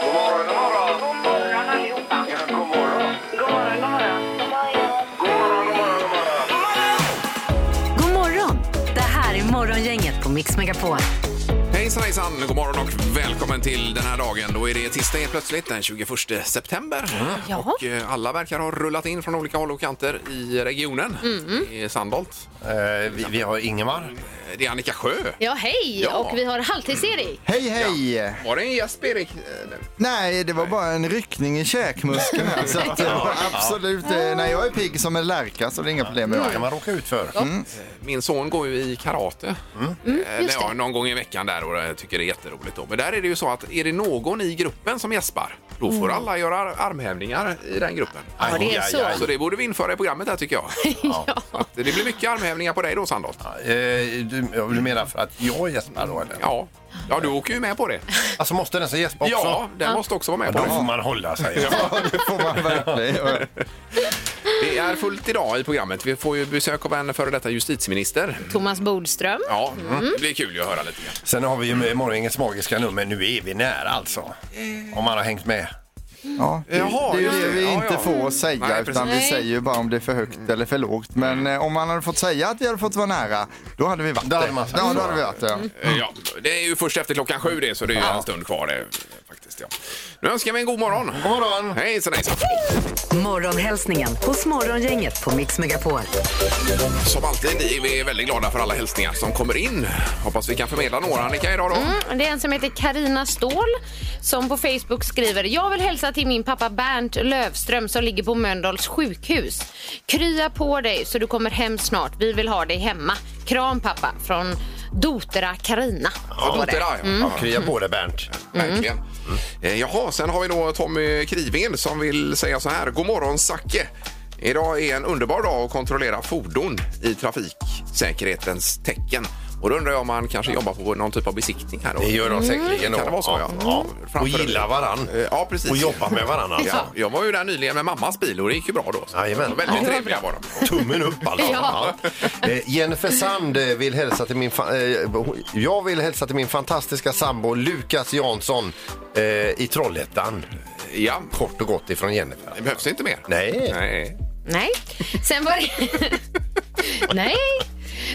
God morgon, god morgon. God morgon allihopa. Ja, god morgon. God morgon, god morgon. God morgon, god morgon, god morgon. God morgon! Det här är Morgongänget på Mix Megapol. Hejsan hejsan, god morgon och välkommen till den här dagen. Då är det tisdag helt plötsligt den 21 september. Och eh, alla verkar ha rullat in från olika håll och kanter i regionen. Mm-hmm. I Sandholt. Eh, vi, vi har Ingemar. Eh, Det är Annika Sjö. Ja, hej! Ja. Och vi har halvtids-Erik. Hej hej! Var det en gäsp Erik? Eh, nu? Nej, det var bara en ryckning i käkmuskeln här. Så att, ja, absolut, eh, när jag är pigg som en lärka så är det inga problem med Vad kan mig. man råka ut för? Min son går ju i karate. Eh, Mm. just ja, det. någon gång i veckan där och jag tycker det är jätteroligt. Då. Men där är det ju så att är det någon i gruppen som gäspar, då får alla göra ar- armhävningar i den gruppen. Mm. Ja, det är så. Så det borde vi införa i programmet här tycker jag. Att Det blir mycket armhävningar på dig då Sandholt. Eh, du, ja, du menar för att jag gäspar då eller? Ja. ja, du åker ju med på det. Alltså måste den som gäspa också? Ja, den måste också vara med på Då får det. man hålla sig. Ja, det får man verkligen göra. Det är fullt idag i programmet. Vi får ju besök av en före detta justitieminister. Thomas Bodström. Ja, det blir kul att höra lite grann. Sen har vi ju morgongängets magiska nummer. Nu är vi nära alltså. Om man har hängt med. Ja, det, Jaha, det är just ju det. det vi Ja, inte ja. får säga, Nej, precis. utan vi säger ju bara om det är för högt eller för lågt. Men eh, om man hade fått säga att vi hade fått vara nära, då hade vi varit Då hade det. man sagt Ja, så. då hade vi varit det. Eh, Ja, det är ju först efter klockan sju det, så det är ju en stund kvar det. eh, Faktiskt, ja. Nu önskar vi en god morgon. God morgon! Hejsan hejsan! Morgonhälsningen hos Morgongänget på Mix Megapol. Som alltid är vi väldigt glada för alla hälsningar som kommer in. Hoppas vi kan förmedla några Annika idag då. Det är en som heter Karina Ståhl som på Facebook skriver Jag vill hälsa till min pappa Bernt Lövström som ligger på Mölndals sjukhus. Krya på dig så du kommer hem snart. Vi vill ha dig hemma. Kram pappa från Dotera Karina. Ja, Mm. Dotera, ja. Ja, krya på dig Bernt. Verkligen. Mm. Eh, Jaha, sen har vi då Tommy Krivén som vill säga så här. God morgon Zacke! Idag är en underbar dag att kontrollera fordon i trafiksäkerhetens tecken. Och då undrar jag om man kanske jobbar på någon typ av besiktning här då? Det gör de säkerligen. Mm. Kan det vara så? Ja. Framför- Och gilla varann. Eh, Ja, precis. Och jobba med varann. alltså. Ja, jag var ju där nyligen med mammas bil och det gick ju bra då. Så Jajamän. Väldigt trevliga var de. Tummen upp alltså. Ja. Eh, Jennifer Sand eh, vill hälsa till min fa- eh, hon- jag vill hälsa till min fantastiska sambo Lukas Jansson eh, i Trollhättan. Ja, Kort och gott ifrån Jennifer. det behövs inte mer. Nej. Nej. Nej. Sen var det... Nej.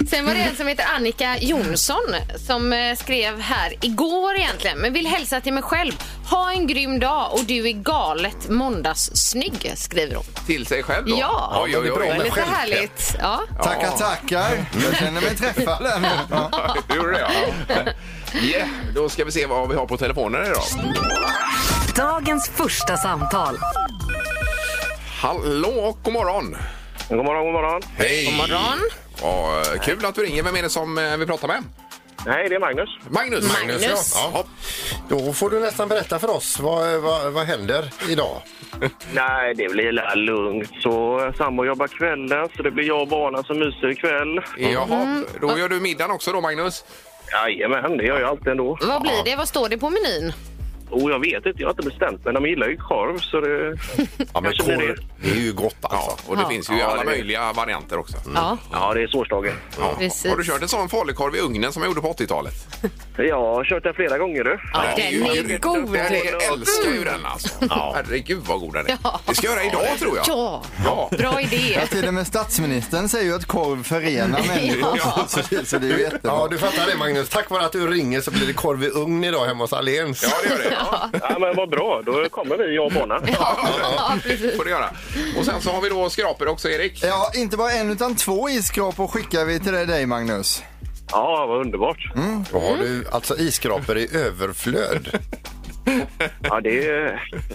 Sen var det en som heter Annika Jonsson som eh, skrev här igår egentligen, men vill hälsa till mig själv. Ha en grym dag och du är galet måndagssnygg, skriver hon. Till sig själv då? Ja. Oj, oj, Det oj. var lite självklart. härligt. Ja. Tackar, tackar. Jag känner mig träffad. Ja. Du gjorde det, ja. Yeah. Då ska vi se vad vi har på telefonen idag. Dagens första samtal. Hallå och god morgon! God morgon, god morgon. Hej! God morgon. kul att du ringer. Vem är det som eh, vi pratar med? Nej, det är Magnus. Magnus! Magnus. Ja. Ja. Då får du nästan berätta för oss vad, eh, vad, vad händer idag. Nej, det blir lilla lugnt. Så sambo jobbar kvällen, så det blir jag och barnen som myser ikväll. Mm. Jaha, då gör du middagen också då Magnus? Jajamän, det gör jag alltid ändå. Vad blir det? Vad står det på menyn? Och jag vet inte, jag har inte bestämt men de gillar ju korv så det... Ja, men Kanske blir korv, det är ju gott alltså. Ja, och det Ja. finns ju Ja, alla det- möjliga varianter också. Mm. Ja. Ja, det är svårslaget. Ja. Precis. Har du kört en sån falukorv i ugnen som jag gjorde på 80-talet? Jag har kört den flera gånger du. ja, Det den är ju- god. Den är, jag älskar ju den alltså. Herregud vad god den är. Ja. Det ska jag göra idag tror jag. Ja, Ja. bra idé. Ja, till och med statsministern säger ju att korv förenar människor. Ja. Så, det, så det är ju jättebra. Ja, du fattar det Magnus. Tack vare att du ringer så blir det korv i ugn idag hemma hos Alléns. Ja, det gör det. Ja. Ja, men vad bra, då kommer vi, jag och barnen. Ja, det får du göra. Och sen så har vi då skrapor också, Erik. Ja, inte bara en utan två isskrapor skickar vi till dig Magnus. Ja, vad underbart. Då har du alltså isskrapor i överflöd. Ja, det,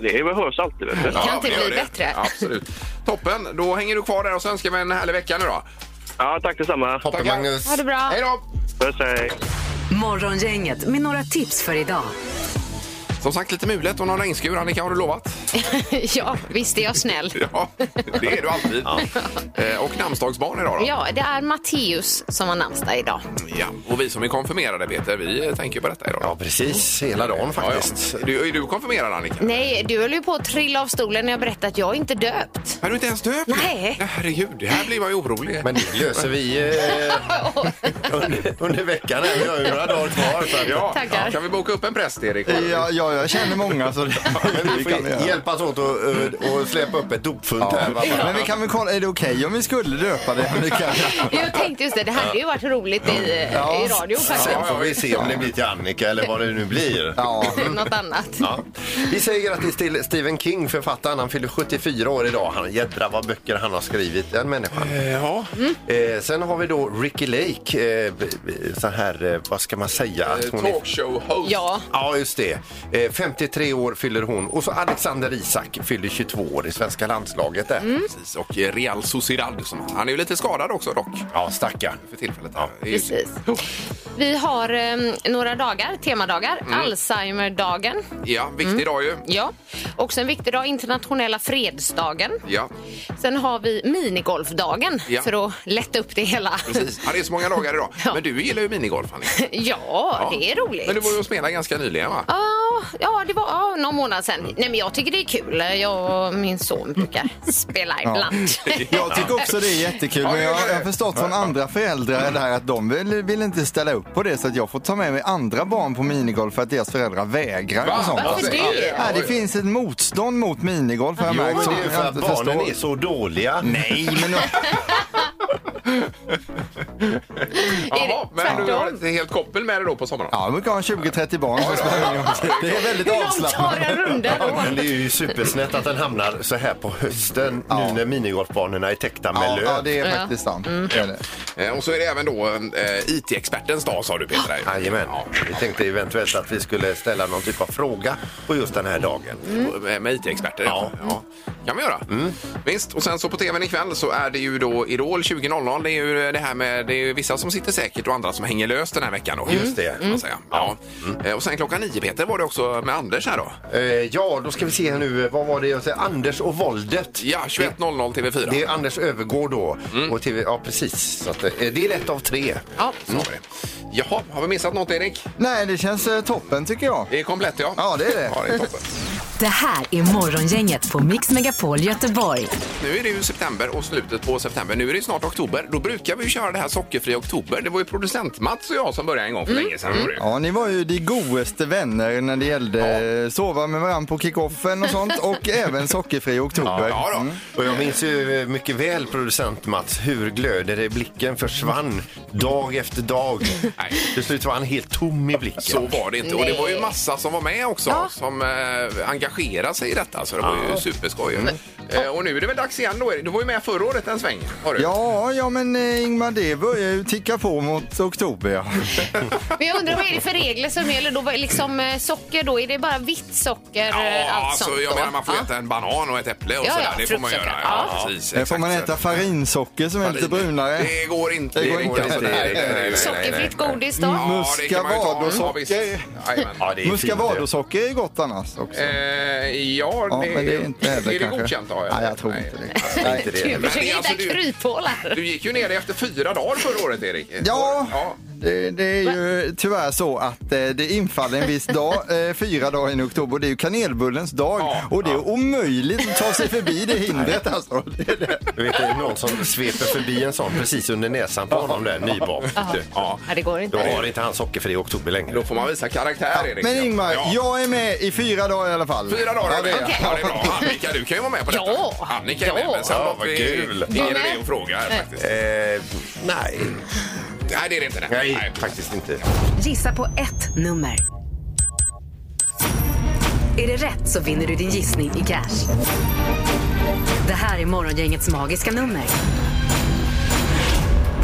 det behövs alltid vet du. Kan inte det gör bli det. bättre. Absolut. Toppen, då hänger du kvar där och så önskar vi en härlig vecka nu då. Ja, tack detsamma. Toppen Tackar. Magnus. Ha det bra. Hej då! Puss hej. Morgongänget med några tips för idag. Som sagt, lite mulet och någon regnskur. Annika, har du lovat? Ja, visst är jag snäll. Ja, det är du alltid. Eh, Och namnsdagsbarn idag då? Ja, det är Matteus som har namnsdag idag. Ja, Och vi som är konfirmerade, Peter, vi eh, tänker på detta idag. Ja, precis. Hela dagen faktiskt. Ja, ja. Du, är du konfirmerad, Annika? Nej, du höll ju på att trilla av stolen när jag berättade att jag inte är döpt. Är du inte ens döpt? Nej. Herregud, det här blir man ju orolig. Men det löser vi eh, under, under veckan. här. Vi har ju några dagar kvar. Så att, ja, Tackar. Kan vi boka upp en präst, Erik? Ja, jag Ja, jag känner många så det, Men vi det kan vi får göra. hjälpas åt och, eh, och släpa upp ett dopfund här. va? Men vi kan väl kolla, är det okej om vi skulle döpa det? Mikael? Jag tänkte just det, det hade ju varit roligt i, eh, Ja. i radio faktiskt. Sen får vi se om det blir till Annika eller vad det nu blir. Ja. Något annat. Ja. Vi säger grattis till Stephen King, författaren. Han fyller 74 år idag. Han, jädra vad böcker han har skrivit, den människan. Ja, Eh, sen har vi då Ricky Lake, eh, b- b- så här, eh, vad ska man säga? Eh, Att hon är- talkshow-host. Ja. Ja, just det. Eh, 53 år fyller hon. Och så Alexander Isak fyller 22 år i svenska landslaget där. Precis, och Real Sociedad. Som han. han är ju lite skadad också dock, Eh, Ja, stackarn. för tillfället. Ja, Precis. Vi har eh, några dagar, temadagar. Alzheimerdagen. ja viktig Mm. dag ju. Ja. Också en viktig dag, internationella fredsdagen. Ja, Sen har vi minigolfdagen Ja. för att lätta upp det hela. precis. Ja, det är så många dagar idag. Men du gillar ju minigolf, Annika. Ja, det är roligt. Men du var ju och spelade ganska nyligen, va? Ja, ja, det var ja, någon månad sedan. Mm. Nej, men jag tycker det är kul. Jag och min son brukar spela ibland. Jag tycker också det är jättekul, men jag jag har förstått från andra föräldrar det här att de vill, vill inte ställa upp på det så att jag får ta med mig andra barn på minigolf för att deras föräldrar vägrar och sånt. Varför det? Ja, det finns ett motstånd mot minigolf har jag Jo, men märkt. som det är ju jag för att inte barnen förstår. är så dåliga. Nej, men Jaha, men du har inte helt koppel med dig då på sommaren? ja, jag brukar ha 20-30 barn som spelar minigolf. Det är väldigt Hur långt tar avslappnat. en runda då? Men det är ju supersnett att den hamnar så här på hösten nu när minigolfbanorna är täckta med Ja, löv. ja, det är faktiskt sant. Det är det. Eh, Och så är det även då eh, IT-expertens dag, sa du Peter. Ja. Jajamän. Vi tänkte eventuellt att vi skulle ställa någon typ av fråga på just den här dagen. Eh, Med- Med IT-experter? Ja. Mm. kan vi göra. Visst, och sen så på tvn ikväll så är det ju då Idol 20.00. Det är ju det här med, det är ju vissa som sitter säkert och andra som hänger löst den här veckan då. Just Mm. det. Kan man säga. Ja. Eh, Och sen klockan nio Peter var det också med Anders här då. Eh, ja, då ska vi se här nu. eh, Vad var det jag sa? Anders och våldet. Ja, 21.00 TV4. Det är Anders övergår då. Mm. Och TV, ja, precis. Så att, eh, det är ett av tre. Ja, så har vi det. Jaha, har vi missat något Erik? Nej, det känns eh, toppen tycker jag. Det är komplett ja. Ja, det är det. Ja, det är toppen. Det här är Morgongänget på Mix Megapol Göteborg. Nu är det ju september och slutet på september. Nu är det snart oktober. Då brukar vi ju köra det här sockerfria oktober. Det var ju producent Mats och jag som började en gång för Mm. länge sedan. var det ju. Ja, ni var ju de godaste vänner när det gällde eh, sova med varandra på kickoffen och sånt och även sockerfri oktober. Ja, då. Mm. Och jag minns ju eh, mycket väl producent Mats hur glöder i blicken försvann dag efter dag. Nej. Till slut var han helt tom i blicken. Så var det inte. Och det var ju Nej. massa som var med också som eh, engagerade sig i detta. Så det var ju superskoj. Mm. Eh, och nu är det väl dags igen då. Erik. Du var ju med förra året en sväng. Var du? Ja, ja men eh, Ingmar, det börjar ju ticka på mot oktober. Ja. Men jag undrar vad är det för regler som gäller då? Vad är Liksom, eh, socker då, är det bara vitt socker? Ja, eh, allt alltså, sånt jag då? menar man får Ja. äta en banan och ett äpple och Ja, sådär. ja, det får man göra. fruktsocker. Ja, precis, Där får man exakt. äta farinsocker som är lite brunare. Det går inte. Det går inte. Nej, nej, nej, nej, nej. Sockerfritt godis då? Ja, det kan man ju ta. Ja, Muscavadosocker. visst. Jajamän. Ja, det är fint, eh. det. Muscavadosocker är gott annars också. Eh, ja, Ja, det, men det är inte heller är det kanske. godkänt då? eller? Nej, jag tror Nej. inte det. Nej, inte det. Gud, Men det försöker är alltså hitta du- kryphålar. Du gick ju ner efter fyra dagar förra året, Erik. Ja, Det, det är ju tyvärr så att eh, det infaller en viss dag, eh, fyra dagar in i oktober. Det är ju kanelbullens dag Ja, och det är omöjligt att ta sig förbi det hindret alltså. Det är det. Jag vet, det är någon som sveper förbi en sån precis under näsan på honom där, nybakt. Ja. Ja, det går Då inte. har inte han sockerfri oktober längre. Då får man visa karaktär, Erik. Men Ingmar, Ja. jag är med i fyra dagar i alla fall. Fyra dagar ja, har vi. det är jag. ja, det är bra. Annika, du kan ju vara med på detta. Ja. Annika är med, Ja. men sen Ja, låter vad vi kul. vi ger Du med? det och fråga här faktiskt. Eh, nej. Nej, det är det inte. Nej. nej, faktiskt inte. Gissa på ett nummer. Är det rätt så vinner du din gissning i cash. Det här är Morgongängets magiska nummer.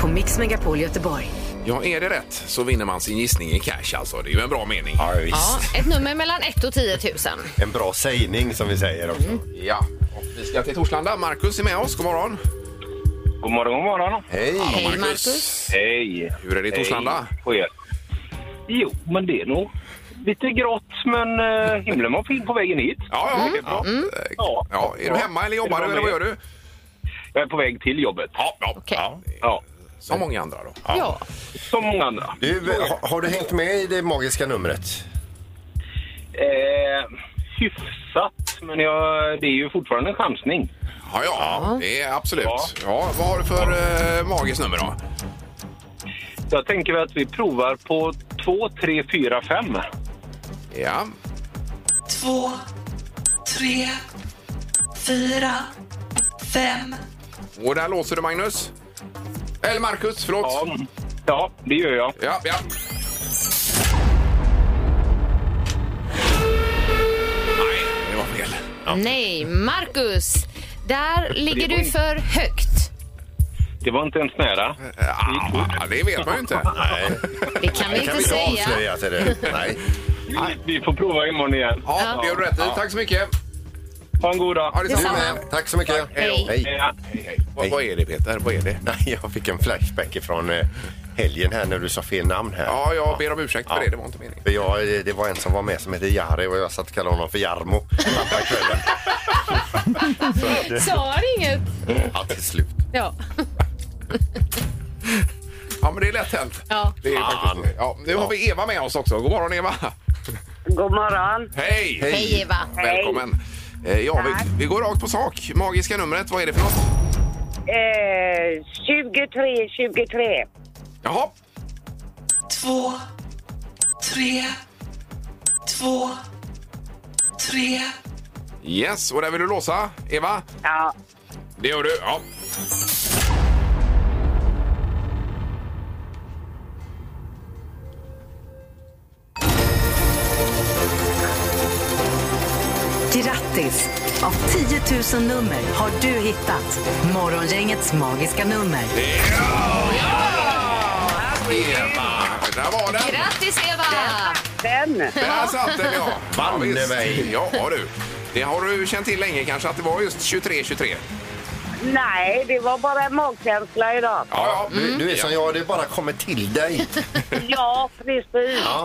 På Mix Megapol Göteborg. Ja, är det rätt så vinner man sin gissning i cash alltså. Det är ju en bra mening. Ja, visst. Ja, ett nummer mellan 1 och 10 000. En bra sägning som vi säger också. Ja. Och vi ska till Torslanda. Markus är med oss. God morgon. God morgon, god morgon. Hej! Hej Marcus. Marcus. Hej. Hur är det i Torslanda? Hej på er. Jo, men det är nog lite grått, men eh, himlen var fin på vägen hit. Ja, ja. Det är bra. Eh, Ja. ja. Är du hemma eller Är jobbar du du eller vad med? gör du? Jag är på väg till jobbet. Ja, ja. Okej. ja. Ja, Som många andra då. Ja. som många andra. Du, ha, har du hängt med i det magiska numret? Eh, hyfsat, men jag, det är ju fortfarande en chansning. Ja, ja. Det är absolut. Ja. Ja. vad har du för eh, magiskt nummer då? Så jag tänker väl att vi provar på 2, 3, 4, 5. Ja. två, tre, fyra, fem. Och där låser du Magnus. Eller Marcus, förlåt. Ja, Ja, det gör jag. ja. Nej, det var fel. Nej, Marcus. Där ligger du för högt. Det var inte ens nära. Ja, det vet man ju inte. Nej, Det kan vi det kan inte vi inte säga. avslöja. Till det. Nej. Vi, vi får prova imorgon igen. Ja, det gör du rätt i. Tack så mycket. Ha en god dag. Eh, Ja, detsamma. Du med. Tack så mycket. Hej. Hej. Hej, hej. Vad, vad är det Peter? Vad är det? Nej, jag fick en flashback ifrån eh, helgen här när du sa fel namn här. Ja, jag ber om ursäkt för Ja. det. Det var inte meningen. För jag, det- det var en som var med som hette Jari och jag satt och kallade honom för Jarmo andra kvällen. Sa han inget? Ja, till slut. Ja. Ja, men det är lätt hänt. Ja. Det är faktiskt det. Ja, nu har vi Eva med oss också. God morgon Eva! God morgon. Hej! Hej, Eva. Välkommen! Eh, Ja, vi, vi går rakt på sak. Magiska numret, vad är det för något? Eh, 23, 23. Jaha, Två, tre, två, tre. yes. Och där vill du låsa, Eva? Ja, Det gör du, ja. Grattis! Av 10 000 nummer har du hittat Morgongängets magiska nummer. Eva! Där var den! Grattis, Eva! den. Där satt den, ja. Banne Ja, visst. mig. Ja, du. Det har du känt till länge kanske, att det var just 23-23. Nej, det var bara en magkänsla idag. Ja, ja. Du, du är som jag, det bara kommer till dig. Ja, precis.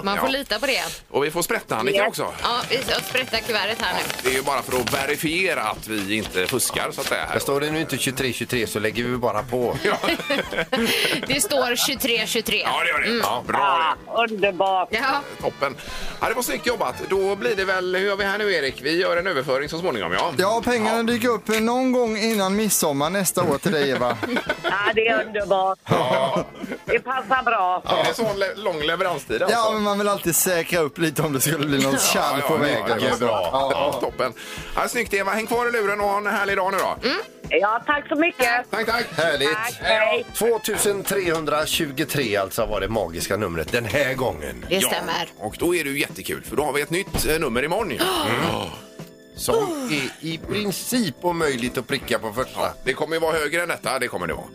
Man får Ja. lita på det. Och vi får sprätta-Annika också. Ja, vi ska sprätta kuvertet här nu. Det är ju bara för att verifiera att vi inte fuskar, så att säga. Här. Men står det nu inte 23-23 så lägger vi bara på. Det står 23-23. Ja, det gör det. Ja, bra det. Ja, underbart. Ja. Toppen. Ja, det var snyggt jobbat. Då blir det väl, hur gör vi här nu Erik? Vi gör en överföring så småningom ja. Ja, pengarna dyker upp någon gång innan midsommar nästa år till dig Eva. Ja, det är underbart. Det passar bra. Det är en sån le- lång leveranstid alltså. Ja, men man vill alltid säkra upp lite om det skulle bli något tjall ja, på ja, vägen. mycket bra. Ja. Ja, toppen. Ja, snyggt Eva, häng kvar i luren och ha en härlig dag nu då. Ja, tack så mycket. Tack, tack. Tack, Härligt. hej. 2323 alltså var det magiska numret den här gången. Det stämmer. Och då är det ju jättekul för då har vi ett nytt eh, nummer imorgon. ju. Som är i princip omöjligt att pricka på första. Det kommer ju vara högre än detta, det kommer det vara.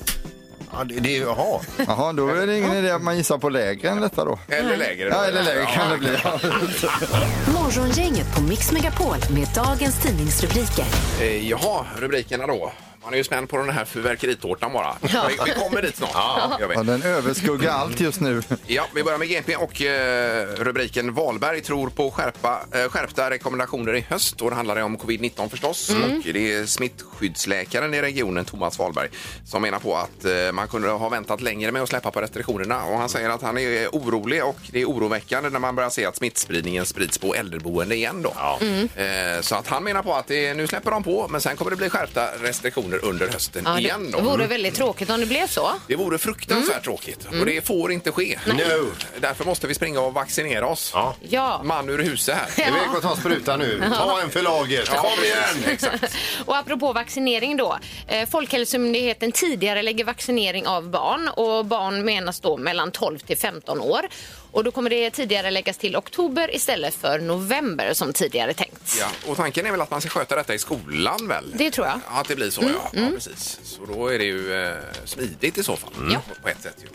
Ja, det, det, jaha. Jaha, då är det ingen idé att man gissar på lägre än detta då. Eller lägre. då. Ja, eller lägre kan det bli. Morgongänget på Mix Megapol med dagens tidningsrubriker. Eh, Jaha, rubrikerna då. Man är ju spänd på den här fyrverkeritårtan bara. Vi, vi kommer dit snart. Gör vi. Ja, den överskuggar allt just nu. Ja, vi börjar med GP och eh, rubriken Valberg tror på skärpa, eh, skärpta rekommendationer i höst. Och det handlar det om covid-19 förstås. Mm. Och det är smittskyddsläkaren i regionen, Thomas Valberg, som menar på att eh, man kunde ha väntat längre med att släppa på restriktionerna. Och han säger att han är orolig och det är oroväckande när man börjar se att smittspridningen sprids på äldreboende igen. Då. Mm. Eh, så att han menar på att det, nu släpper de på, men sen kommer det bli skärpta restriktioner under hösten Ja, igen. Då. Mm. det vore väldigt tråkigt om det blev så. Det vore fruktansvärt tråkigt och det får inte ske. No. Därför måste vi springa och vaccinera oss. Ja. Ja. Man ur huset här. Är vi gå och ta sprutan nu? Ta en för laget. Kom igen! Och apropå vaccinering då. Eh, Folkhälsomyndigheten tidigare lägger vaccinering av barn och barn menas då mellan 12 till 15 år. Och då kommer det tidigare läggas till oktober istället för november som tidigare tänkt. Ja. Och tanken är väl att man ska sköta detta i skolan väl? Det tror jag. Mm, Ja, Att det blir så ja. ja. Precis. Så då är det ju eh, smidigt i så fall. Ja. På ett sätt ju.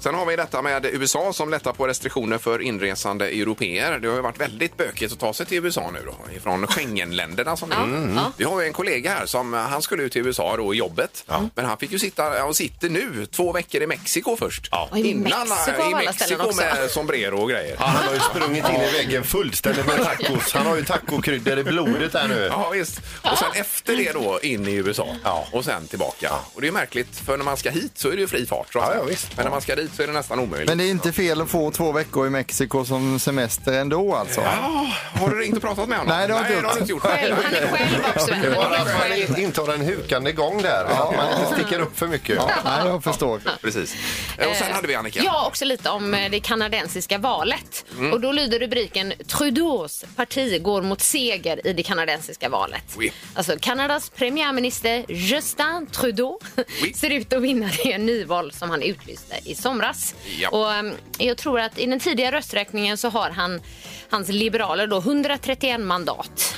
Sen har vi detta med USA som lättar på restriktioner för inresande europeer. Det har ju varit väldigt bökigt att ta sig till USA nu då. Från Schengenländerna som Ja, vi ja. Vi har ju en kollega här som eh, han skulle ut till USA då i jobbet. Men han fick ju sitta, ja, och sitter nu, två veckor i Mexiko först. Och i Mexiko eh, av i alla ställen Mexiko också. med sombrero och grejer. Ja, han har ju sprungit in i väggen fullständigt med tacos. Han har ju tacokryddor i blodet här nu. Ja, visst. Och sen efter det då in i USA Ja. och sen tillbaka. Och det är ju märkligt för när man ska hit så är det ju fri fart. så att Ja, säga. ja, visst. Men när man ska dit så är det nästan omöjligt. Men det är inte fel att få två veckor i Mexiko som semester ändå alltså. Ja, Ah, har du ringt och pratat med honom? Nej, det har jag Nej, inte har du inte gjort. Själv, han är själv också. Det är Men bara han är att själv. man inte har en hukande gång där. Att man inte sticker upp för mycket. Ja, nej, jag förstår. Precis. Eh, Och sen hade vi Annika. Mm. Ja, också lite om eh, det kanadensiska valet. Och då lyder rubriken Trudeaus parti går mot seger seger i det kanadensiska valet. Oui. Alltså Kanadas premiärminister Justin Trudeau Oui. ser ut att vinna det nyval som han utlyste i somras. Ja. Och ehm, jag tror att i den tidiga rösträkningen så har han, hans liberaler då 131 mandat.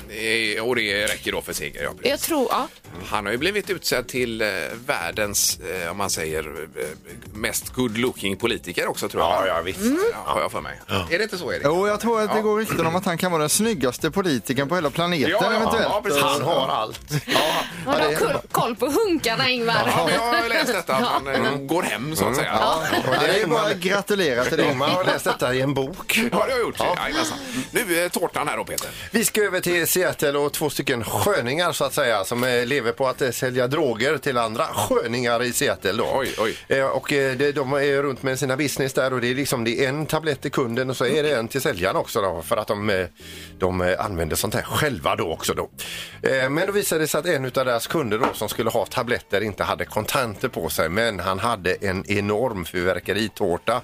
Eh, Och det räcker då för seger. Ja, precis. Jag tror, ja. Han har ju blivit utsedd till eh, världens, eh, om man säger, eh, mest good-looking politiker också tror jag. Ja, ja, visst. Ja, har jag för mig. Är det inte så, Erik? Jo, jag tror att Ja. det går rykten om att han kan vara den snyggaste politikern på hela planeten Ja, ja, eventuellt. ja, precis. Han har allt. Ja, Man har koll, koll på hunkarna Ingvar. ja, jag har läst detta, att han eh, går hem så att säga. Ja, Och Det är det, bara att man, gratulera till det. man har läst detta i en bok. det har jag gjort. Jajamensan. Nu är tårtan här då, Peter. Vi ska över till Seattle och två stycken sköningar så att säga som eh, lever på att eh, sälja droger till andra sköningar i Seattle då. Oj, oj. Eh, Och eh, det- de är runt med sina business där och det är liksom det är en tablett till kunden och så är det en till säljaren också då, för att de, eh, de eh, använder sånt här själva då också då. Eh, Men då visade det sig att en av deras kunder då som skulle ha tabletter inte hade kontanter på sig men han hade en enorm fyrverkeritårta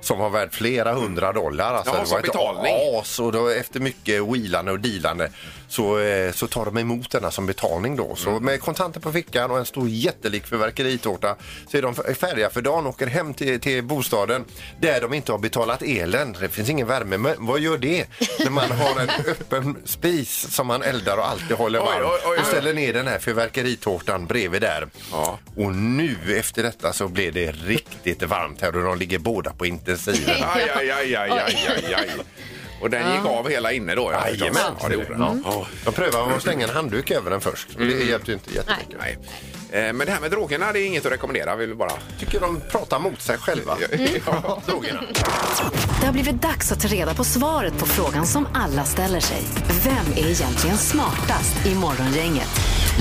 som var värd flera hundra dollar. Alltså, Ja, Mm. som ett betalning. as och då efter mycket wheelande och dealande så, eh, så tar de emot denna som betalning då. Så Mm. med kontanter på fickan och en stor jättelik fyrverkeritårta så är de färdiga för dagen åker hem till, till bostaden där de inte har betalat elen. Det finns ingen värme. Men vad gör det när man har en öppen spis som man eldar och alltid håller Oj, varm oj, oj, oj. och ställer ner den här fyrverkeritårtan bredvid där. Ja. Och nu efter detta så blir det riktigt varmt här och de ligger båda på intensiven. Aj, aj, aj, aj, aj, aj, aj. Och den gick av hela inne då? ja, förstås. Jajamän. Ja, det gjorde den. Ja. De prövade att slänga en handduk över den först. Det hjälpte ju inte jättemycket. Nej. Eh, Men det här med drogerna, det är inget att rekommendera. Vill vi bara... Jag tycker de pratar mot sig själva. Ja, drogerna. Det har blivit dags att ta reda på svaret på frågan som alla ställer sig. Vem är egentligen smartast i Morgongänget?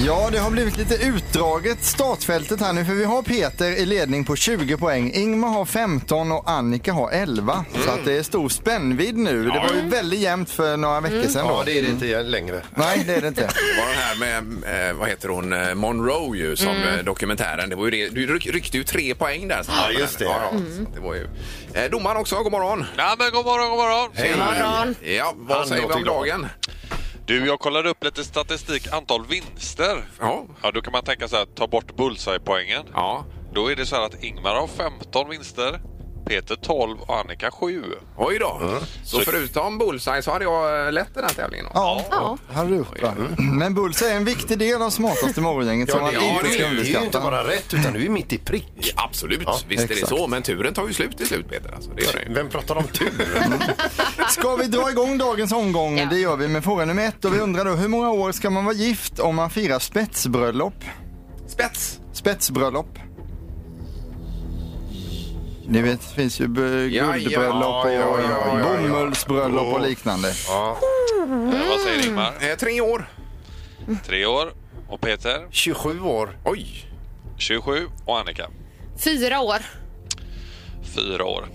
Ja, det har blivit lite utdraget startfältet här nu för vi har Peter i ledning på 20 poäng. Ingmar har 15 och Annika har 11. Så att det är stor spännvidd nu. Det var ju väldigt jämnt för några veckor sedan då. Ja, det är det inte längre. Nej, det är det inte. Det var den här med, eh, vad heter hon, eh, Monroe ju, som eh, dokumentären. Det var ju det. Du ryck- ryckte ju tre poäng där. Ja, just det. Ja, ja. Så det var ju. Eh, Domaren också, god morgon. Ja, men god morgon, god morgon. Hej. morgon. Ja, vad Han säger vi om låter glad. dagen? Du, jag kollade upp lite statistik, antal vinster. Ja. Ja, då kan man tänka så här, ta bort bullseye-poängen. Ja. Då är det så här att Ingmar har 15 vinster, Peter 12 och Annika 7. Oj då. Så förutom bullseye så hade jag eh, lett den här tävlingen. Ja, Ja. har du gjort va? Men Bullseye är en viktig del av smartaste morgongänget som Ja, man det- ja, inte det- det ska är ju Det är ju inte underskatta. bara rätt, utan du är mitt i prick. Absolut, visst är det exakt. så. Men turen tar ju slut till slut, Peter. Alltså, det gör den ju. Vem pratar om tur? Ska vi dra igång dagens omgång? Ja. Det gör vi med fråga nummer ett. Och vi undrar då, hur många år ska man vara gift om man firar spetsbröllop? Spets! Spetsbröllop. Ni vet, det finns ju b- ja, guldbröllop ja, ja, och ja, ja. bomullsbröllop och liknande. Eh, Vad säger Ingmar? Eh, tre år. Tre år. Och Peter 27 år. Oj! 27 och Annika Fyra år. fyra år.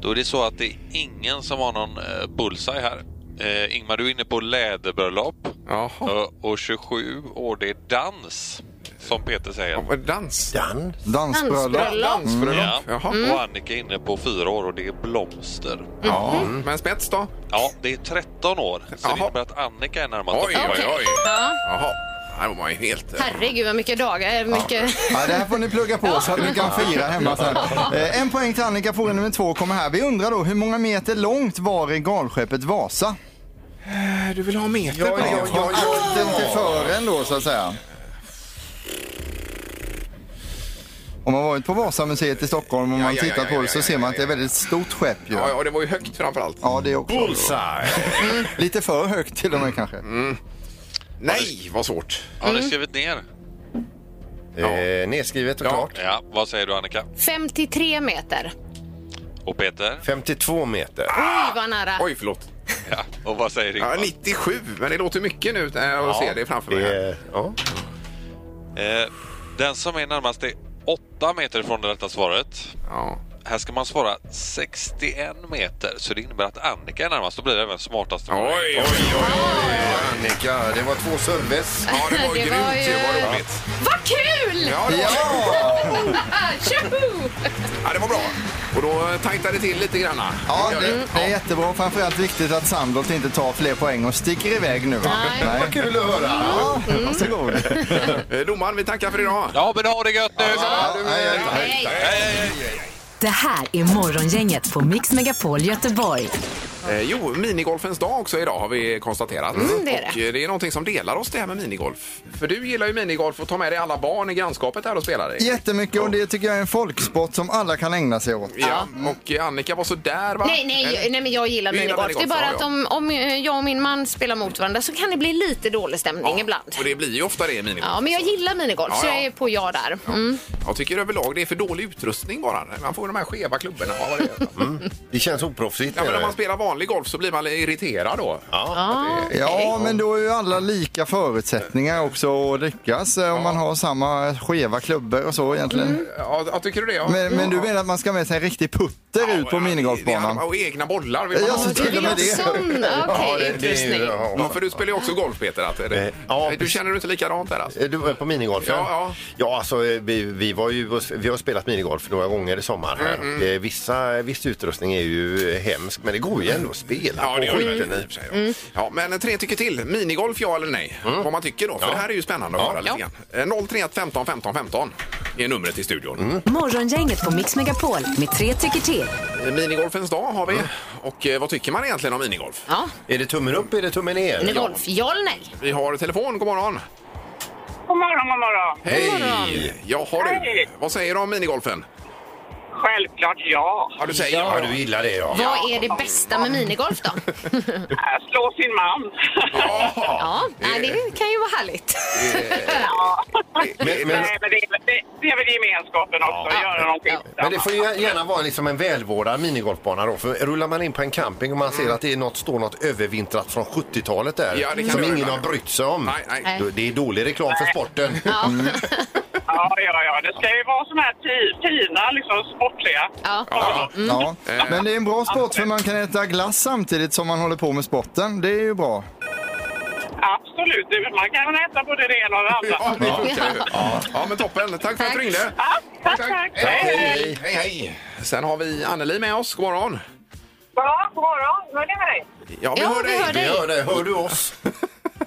Då är det så att det är ingen som har någon eh, bullseye här. Eh, Ingmar, du är inne på läderbröllop. Jaha. Ö, Och 27 år, det är dans, som Peter säger. Ja, Dans. Dan. Dansbröllop. Dansbröllop. Dansbröllop. Ja. Jaha. Och Annika är inne på fyra år och det är blomster. Ja. Mm, Men spets då? Ja, det är 13 år. Så Jaha. det innebär att Annika är närmast. Oj, oj, Okej. oj. Ja. Jaha. Här var man ju helt... eh, Herregud vad mycket dagar. eh, Mycket... Ja, det här får ni plugga på så att ni kan fira hemma sen. Eh, en poäng till Annika, fråga nummer två kommer här. Vi undrar då, hur många meter långt var regalskeppet Vasa? Du vill ha meter Ja, på ja, det? ja, ja. Inte fören då så att säga. Om man varit på Vasamuseet i Stockholm och Ja, man ja, tittat ja, ja, på det så ja, ser ja, man att det är ja, ett väldigt stort skepp ju. Ja, ja, det var ju högt framför allt. Ja, det är också. Bullseye. Lite för högt till och med kanske. Mm. Nej, vad svårt. Har ni skrivit ner? Eh, nedskrivet och Ja. klart. Ja, vad säger du Annika? 53 meter. Och Peter? 52 meter. Oj vad nära. Oj, förlåt. Ja. Och vad säger Ja, Ingmar? 97, men det låter mycket nu när jag ser det framför mig. här. Eh, ja. Eh, den som är närmast är 8 meter från det rätta svaret. Ja. Här ska man svara 61 meter, så det innebär att Annika är närmast. Då blir det även smartast. Oj, oj, oj, oj. Annika. Det var två serves. Ja, det var grymt. Det var roligt. Vad kul! Ja, det var, Tjoho! ja, det var bra. Och då tajtade det till lite grann. Ja, gör det, det är jättebra. Framförallt viktigt att Sandholt inte tar fler poäng och sticker iväg nu. Va? Nej. Nej. Kul att höra. Ja, varsågod. Eh, Domaren, vi tackar för idag. Ja, men ha det gött nu! Hej. Det här är Morgongänget på Mix Megapol Göteborg. Eh, jo, minigolfens dag också idag har vi konstaterat. Mm, det är det. Och eh, det är någonting som delar oss det här med minigolf. För du gillar ju minigolf och tar med dig alla barn i grannskapet här och spelar i. Jättemycket och det tycker jag är en folksport som alla kan ägna sig åt. Ja, och eh, Annika var så där va? Nej, nej, Eller? jag- nej, men jag gillar Du gillar minigolf. Det är minigolf, bara ja, att ja. om, om eh, jag och min man spelar mot varandra så kan det bli lite dålig stämning ibland. Och det blir ju ofta det i minigolf. Ja, men jag gillar minigolf, Ja, så ja. jag är på ja där. Mm. Jag tycker överlag det är för dålig utrustning bara. Man får de här skeva klubborna. Ja, vad det är. Det känns oproffsigt. eh. ja, men om är man det. spelar vanlig golf så blir man irriterad då. Ja. Ja, men då är ju alla lika förutsättningar också att lyckas eh, om man har samma skeva klubbor och så egentligen. Ja, ja, tycker du det? Ja. Men, men du menar att man ska med sig en riktig putter Ja, ut på ja, det- det- minigolfbanan? Och egna bollar vill man Ja, ha. så Du till och vill med ha det. sån okej, Ja, det- det är ju- utrustning. ja. Ja, för du spelar ju också golf Peter. Att, Eh, ja, du känner inte likadant där alltså? Är Eh, Du på minigolfen? Ja, ja. ja alltså, eh, vi, vi, var ju, vi har spelat minigolf några gånger i sommar. Här. Mm, Eh, Vissa, viss utrustning är ju eh, hemsk, men det går ju ändå att spela. Ja, det gör Och det skiten väl i och för sig. då. Ja, Mm. men tre tycker till. Minigolf, ja eller nej? Vad man tycker då. För det här är ju spännande att höra lite grann. Eh, 031 15 15 15 är numret till studion. Morgongänget på Mix Megapol med tre tycker till. Eh, Minigolfens dag har vi. Och eh, vad tycker man egentligen om minigolf? Ja, Är det tummen upp, är det tummen ner? minigolf. Ja eller nej? Vi har telefon. God morgon! God morgon, god morgon. Hej! Ja, har du. Hej. Vad säger du om minigolfen? Självklart ja. Ja, du säger Ja, du gillar det ja. Vad är det bästa med minigolf då? Äh, Slå sin man. Ja, nej, det kan ju vara härligt. Ja. Men, men, Nej, men det, är- det, det är väl gemenskapen också, att göra någonting Ja. men det får ju gärna vara liksom en välvårdad minigolfbana då. För rullar man in på en camping och man ser att det är något, står något övervintrat från 70-talet där. Mm. Ja, det kan som det ingen vara. har brytt sig om. Nej, nej. Nej. Då- Det är dålig reklam för sporten. Ja, ja, ja. Det ska ju vara såna här ti- fina, liksom sportliga. Ja. Ja. Ja, Eh. men det är en bra sport för man kan äta glass samtidigt som man håller på med sporten. Det är ju bra. Absolut. Det- Man kan äta både det ena och det Ja, andra. det funkar ju. Ja, men toppen. Tack för att du ringde. Ja, tack, tack. Hej, hej, hej, hej. Sen har vi Anneli med oss. God morgon. Ja, god morgon. Hör ni mig? Ja, Ja, vi hör dig. Hör, det, hör du oss?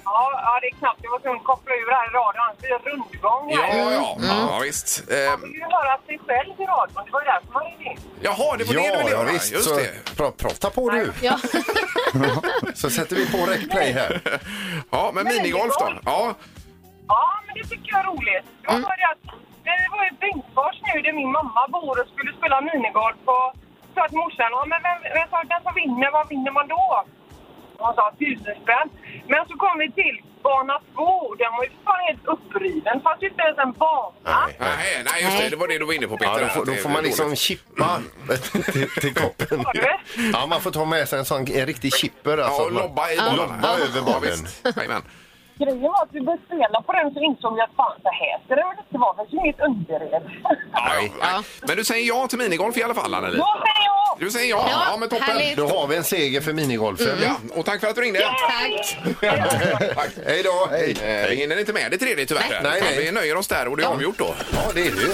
Ja, ja, det är knappt. Jag var tvungen att koppla ur här i radion. Det är rundgång Ja, här. Mm. ja, ja, visst. Man Ehm, vill ju höra sig själv i radion. Det var ju därför man ringde in. jaha, det var det du ville göra. Just Så, det. pra, prata på du. Ja. Så sätter vi på RecPlay här. Ja, men Nej, minigolf då? golf. Ja, Ja, men det tycker jag är roligt. Det var bara det att det var ju Bengtsfors nu där min mamma bor och skulle spela minigolf och sa att morsan, ja men vem, vem sa den som vinner, vad vinner man då? Och Hon sa tusen spänn. Men så kom vi till bana två, den var ju fan helt uppriven. Fanns ju inte ens en bana. Nej. nej, nej, just det. Det var det du var inne på Peter. Ja, då, får, då Det är får man dåligt. liksom chippa till, till koppen. Hörde du? Ja, man får ta med sig en sån en riktig chipper. Alltså. Ja, och lobba i bollarna. Lobba över Ja, bollen. visst. Jajamän. Grejen var att vi började spela på den så insåg vi att fan så här ska det väl inte vara, det finns ju inget underred. Ja, ja. Men du säger ja till minigolf i alla fall, Anneli? Då säger jag! Du säger ja? Ja, Ja, men toppen. härligt. Då har vi en seger för minigolfen. Ja, och tack för att du ringde. Tack. Mm. Tack. Hej då! Hej. Eh, Vi hinner inte med det tredje tyvärr. Nej, Utan nej. Vi nöjer oss där och det är avgjort då. Ja, det är du.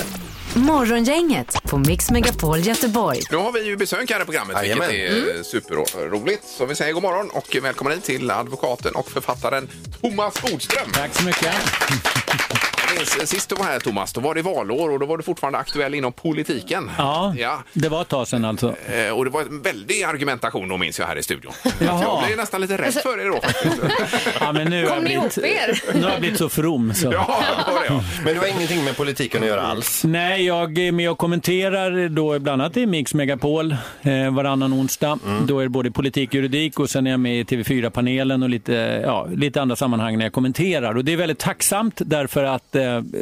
Morgongänget på Mix Megapol Göteborg. Nu har vi ju besök här i programmet, vilket Jajamän. är eh, superroligt. Så vi säger god morgon och välkommen hit till advokaten och författaren Thomas Bodström. Tack så mycket. Jag minns, sist du var här Thomas, då var det valår och då var du fortfarande aktuell inom politiken. Ja, ja. det var ett tag sedan alltså. Eh, Och det var en väldig argumentation då minns jag här i studion. Jaha. Jag blev nästan lite rädd för er då faktiskt. Ja, men nu har jag ni blivit, ihop er? Nu har jag blivit så from. Så. Ja, det var det ja. Men du har ingenting med politiken att göra alls. Nej, jag är med och kommenterar då bland annat i Mix Megapol eh, varannan onsdag. Då är det både politik och juridik och sen är jag med i TV4-panelen och lite, ja, lite andra sammanhang när jag kommenterar. Och det är väldigt tacksamt därför att eh,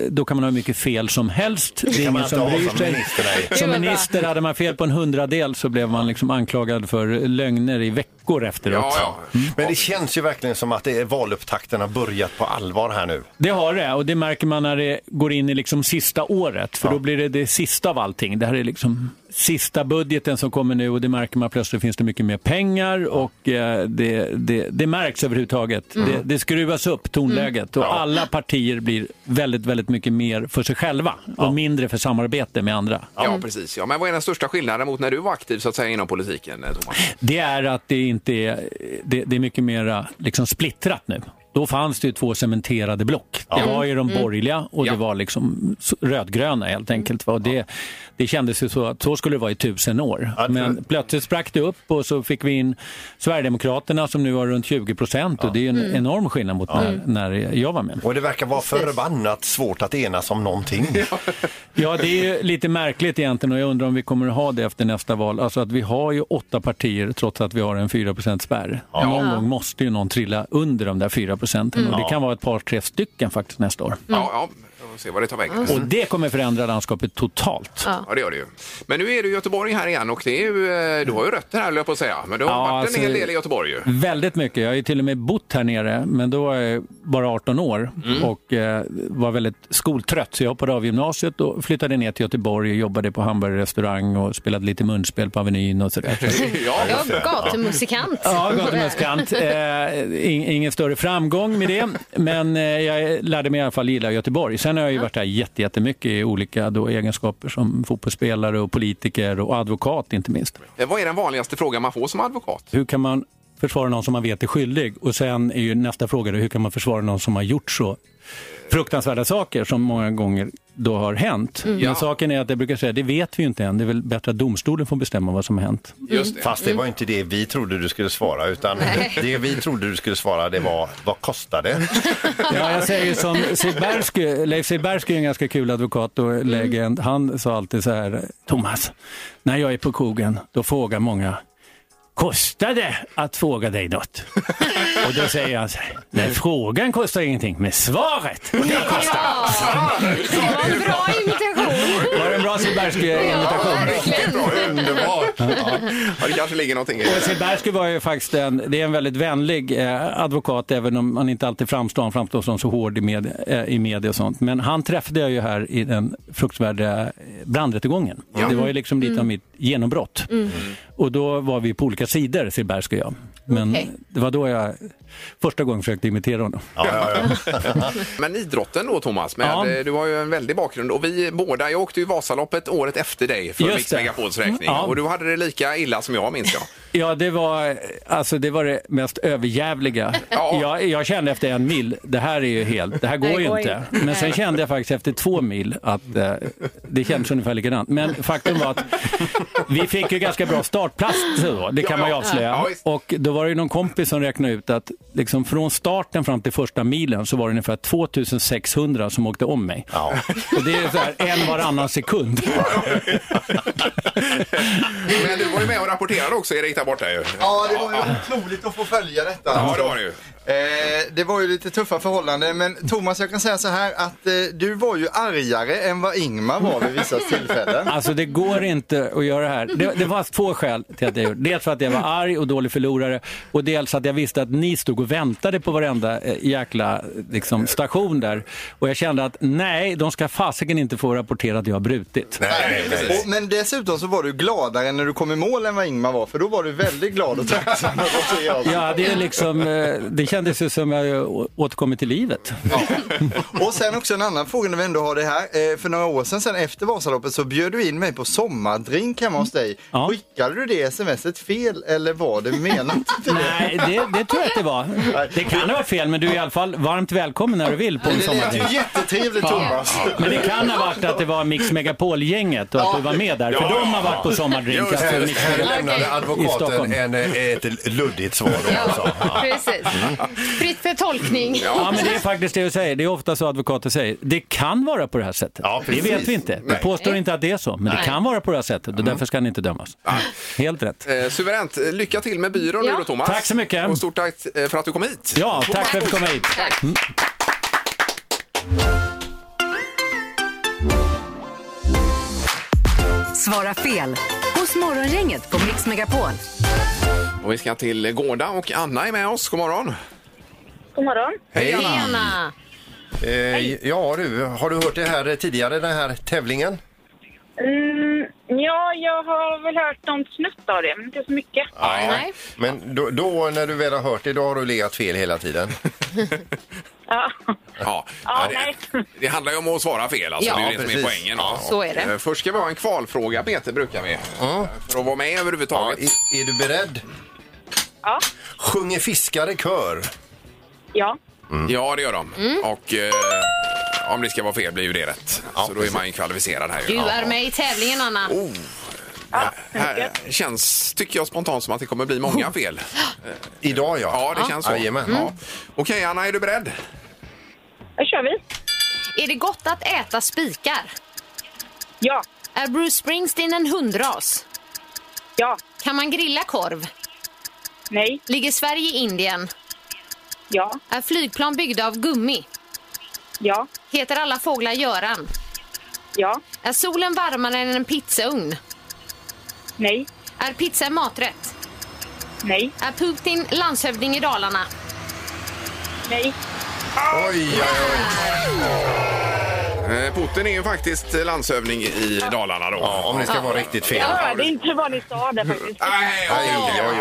då kan man ha hur mycket fel som helst. Det är kan man ingen som inte ha bryr som sig. minister, nej. Som Det var bra. minister hade man fel på en hundradel så blev man liksom anklagad för lögner i veckor efteråt. ja, ja. Mm. Men det känns ju verkligen som att det är valupptakten har börjat på allvar här nu. Det har det och det märker man när det går in i liksom sista året för då blir det det sista av allting. Det här är liksom sista budgeten som kommer nu och det märker man plötsligt finns det mycket mer pengar och eh, det, det, det märks överhuvudtaget. Mm. Det, det skruvas upp tonläget och alla partier blir väldigt, väldigt mycket mer för sig själva och mindre för samarbete med andra. Ja, precis. Ja, men vad är den största skillnaden mot när du var aktiv så att säga inom politiken, eh, Thomas? Det är att det inte är, det, det är mycket mer liksom splittrat nu. Då fanns det ju två cementerade block. Det Ja. var ju de Mm. borgerliga och det var liksom s- rödgröna helt enkelt. va. Och det, det kändes ju så att så skulle det vara i tusen år. Men plötsligt sprack det upp och så fick vi in Sverigedemokraterna som nu har runt 20 procent och det är ju en Mm. enorm skillnad mot Ja. när, när jag var med. Och det verkar vara förbannat svårt att enas om någonting. Ja, det är ju lite märkligt egentligen och jag undrar om vi kommer att ha det efter nästa val. Alltså att vi har ju åtta partier trots att vi har en 4 spärr. Ja. Någon gång måste ju någon trilla under de där 4 procenten Mm. och det kan vara ett par, tre stycken faktiskt nästa år. Ja, ja. Vi får se vad det tar vägen. Och det kommer förändra landskapet totalt. Ja. det gör det ju. Men nu är du i Göteborg här igen och det är ju, eh, du har ju rötter här, höll jag på att säga. Men du har Ja, varit alltså- en hel del i Göteborg ju. Väldigt mycket. Jag har ju till och med bott här nere, men då var jag bara 18 år Mm. och eh, var väldigt skoltrött. Så jag hoppade av gymnasiet och flyttade ner till Göteborg och jobbade på hamburgerrestaurang och spelade lite munspel på Avenyn och sådär. Ja, gatumusikant. Ja, gatumusikant. Eh, in, ingen större framgång med det, men eh, jag lärde mig i alla fall gilla Göteborg. Sen har jag ju varit här jätte- jättemycket i olika då, egenskaper som fotbollsspelare och politiker och advokat inte minst. Eh, Vad är den vanligaste frågan man får som advokat? Hur kan man försvara någon som man vet är skyldig? Och sen är ju nästa fråga då, hur kan man försvara någon som har gjort så fruktansvärda saker som många gånger då har hänt. Mm. Ja. Men saken är att jag brukar säga, det vet vi ju inte än. Det är väl bättre att domstolen får bestämma vad som har hänt. Just det. Fast det var inte det vi trodde du skulle svara utan det vi trodde du skulle svara det var vad kostar det? Ja, jag säger ju som Silbersky, Leif Silbersky är en ganska kul advokat och legend. Han sa alltid så här, Thomas, när jag är på kogen, då frågar många, kostar det att fråga dig något? Och då säger han så här, nej frågan kostar ingenting, men svaret, det kostar. Var det en bra Silbersky-imitation? Riktigt bra, underbart! Ja. Ja, det kanske ligger någonting i Och det. Silbersky var ju faktiskt en, det är en väldigt vänlig eh, advokat, även om han inte alltid framstår, han framstår som så hård i media, eh, i media och sånt. Men han träffade jag ju här i den fruktansvärda eh, brandrättegången. Ja. Det var ju liksom lite av Mm. mitt genombrott. Mm. Och då var vi på olika sidor, Silbersky och jag. Men Okej. det var då jag första gången försökte imitera honom. Men idrotten då Thomas, med, Ja. eh, du har ju en väldig bakgrund och vi båda, jag åkte ju Vasaloppet året efter dig för Just Mix det. Megapols räkning Ja. och du hade det lika illa som jag minns jag. Ja, det var, alltså, det var det mest överjävliga. Jag, jag kände efter en mil, det här är ju helt, det här går Nej, ju går inte. inte. Men sen kände jag faktiskt efter två mil att eh, det kändes ungefär likadant. Men faktum var att vi fick ju ganska bra startplats då, det kan man ju Ja, ja. avslöja. Ja, Och då var det ju någon kompis som räknade ut att liksom från starten fram till första milen så var det ungefär 2600 som åkte om mig. Och det är så här en varannan sekund. Men du var ju med och rapporterade också Erik där borta ju. Ja, det var ju otroligt att få följa detta. Ja, alltså. det var det ju. Eh, det var ju lite tuffa förhållanden, men Thomas jag kan säga så här att eh, du var ju argare än vad Ingmar var vid vissa tillfällen. Alltså det går inte att göra det här. Det, det var två skäl till att jag gjorde det. Dels för att jag var arg och dålig förlorare och dels att jag visste att ni stod och väntade på varenda eh, jäkla liksom, station där. Och jag kände att nej, de ska fasiken inte få rapportera att jag har brutit. Och, men dessutom så var du gladare när du kom i mål än vad Ingmar var, för då var du väldigt glad och tacksam över att se oss. Ja, det, är liksom, eh, det kändes ju som jag eh, å- återkommit till livet. Och sen också en annan fråga när vi ändå har det här. Eh, för några år sedan, sen efter Vasaloppet så bjöd du in mig på sommardrink hemma hos dig. Skickade du det smset fel eller var det menat? Nej, det, det tror jag att det var. Det kan ha varit fel, men du är i alla fall varmt välkommen när du vill på en Det lät sommardrink. ju jättetrevligt Thomas. Ja. Men det kan ha varit att det var Mix Megapol-gänget och att du var med där, för Ja. de har varit på sommardrink. Just alltså, det. Mix Här Megapol lämnade i advokaten Stockholm. en, eh, ett luddigt svar. Då, Mm. alltså. Precis. Fritt för tolkning. Ja, men det är faktiskt det du säger. Det är ofta så advokater säger. Det kan vara på det här sättet. det precis. vet vi inte. Vi Nej. påstår inte att det är så, men Nej. det kan vara på det här sättet Mm. och därför ska ni inte dömas. Helt rätt. Eh, suveränt. Lycka till med byrån Ja. nu då Thomas. Tack så mycket. Och stort tack eh, för att du kom hit. Ja, tack för att du kom hit. Mm. Svara fel hos Morgongänget på Mix Megapol. Och vi ska till Gårda och Anna är med oss. God morgon. God morgon. Hej, Anna. Eh, ja du, har du hört det här tidigare, den här tävlingen? Mm, ja, jag har väl hört någon snutt av det, men inte så mycket. Nej. Men då, då när du väl har hört det, då har du legat fel hela tiden. Ja. Ja, Ja, det, det handlar ju om att svara fel, alltså. Ja. det är ju det som är Precis. poängen. Ja. Så är det. Eh, Först ska vi ha en kvalfråga, Peter, brukar vi. För att vara med överhuvudtaget. är, du beredd? Ja. Sjunger fiskare kör? Ja. Ja, det gör de. Och eh, om det ska vara fel blir ju det rätt. så då är man ju kvalificerad här. ju. Du Ja. är med i tävlingen, Anna. Här känns, tycker jag spontant, som att det kommer bli många fel. Idag, ja. Ja, det Oh. Ja. Mm. känns så. Jajamän. Ja. Okej, Anna, är du beredd? Då kör vi. Är det gott att äta spikar? Ja. Är Bruce Springsteen en hundras? Ja. Kan man grilla korv? Nej. Ligger Sverige i Indien? Ja. Är flygplan byggda av gummi? Ja. Heter alla fåglar Göran? Ja. Är solen varmare än en pizzaugn? Nej. Är pizza en maträtt? Nej. Är Putin landshövding i Dalarna? Nej. Oj, oj, Eh, Putin är ju faktiskt landshövding i Dalarna då. Ja, om det ska vara riktigt Jag hörde inte vad ni sa där faktiskt. Oj, oj,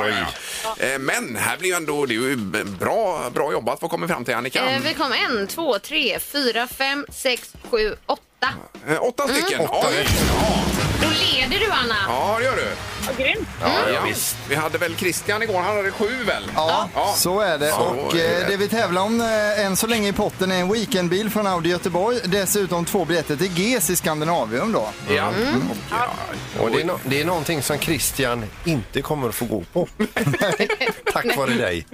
oj. Eh, Men här blir ju ändå, det är ju bra, bra jobbat. Vad kommer vi fram till Annika? Eh, vi kom en, två, tre, fyra, fem, sex, sju, åtta. Eh, Åtta Mm. stycken. Oj. Då leder du, Anna. Ja, det gör du. Grymt. Ja, ja, visst. Vi hade väl Christian igår, han hade sju väl? Ja, så är det. Så och är eh, det vi tävlar om eh, än så länge i potten är en weekendbil från Audi Göteborg. Dessutom två biljetter till GES i Skandinavium då. Ja. Och det, är no- det är någonting som Christian inte kommer att få gå på. Tack vare dig.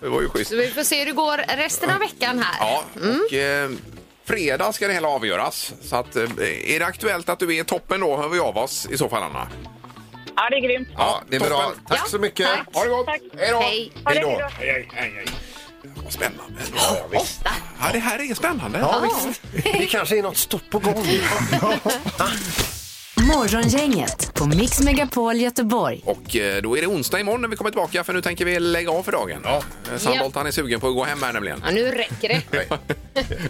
Det var ju schysst. Så vi får se hur det går resten av veckan här. Ja, och eh, fredag ska det hela avgöras. Så att, eh, är det aktuellt att du är i toppen då hör vi av oss i så fall, Anna. Ja, det är grymt. Ja, det är bra. Tack så mycket. Ha det gott! Hej då! Hej. Ha det, då. hej då. Hej, hej, hej. Vad spännande. Ja, ja, det här är spännande. Ja, visst. Det kanske är något stort på gång. Morgongänget på Mix Megapol Göteborg. Och eh, då är det onsdag imorgon när vi kommer tillbaka för nu tänker vi lägga av för dagen. Eh, Sandholt han är sugen på att gå hem här nämligen. Ja, nu räcker det.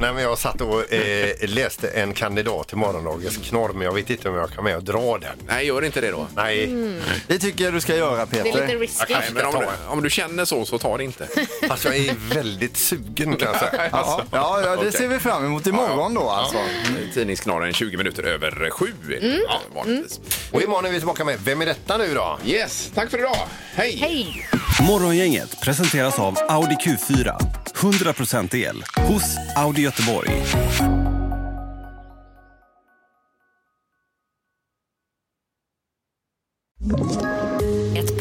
Nej, men jag satt och eh, läste en kandidat till morgondagens knorr, men jag vet inte om jag kan med och dra den. Nej, gör inte det då. Nej. Mm. Det tycker jag du ska göra Det är lite Peter. risky. Nej, men om, du, om du känner så, så ta det inte. Alltså, jag är väldigt sugen kan jag säga. Ja, ja, ja, det Okej. ser vi fram emot imorgon då alltså. Tidningsknaren 20 minuter över sju. Mm. Ja, vanligtvis. Och imorgon är vi tillbaka med Vem är detta nu då? Yes, tack för idag. Hej! Hej. Morgongänget presenteras av Audi Q4. 100% el hos Audi Göteborg. Ett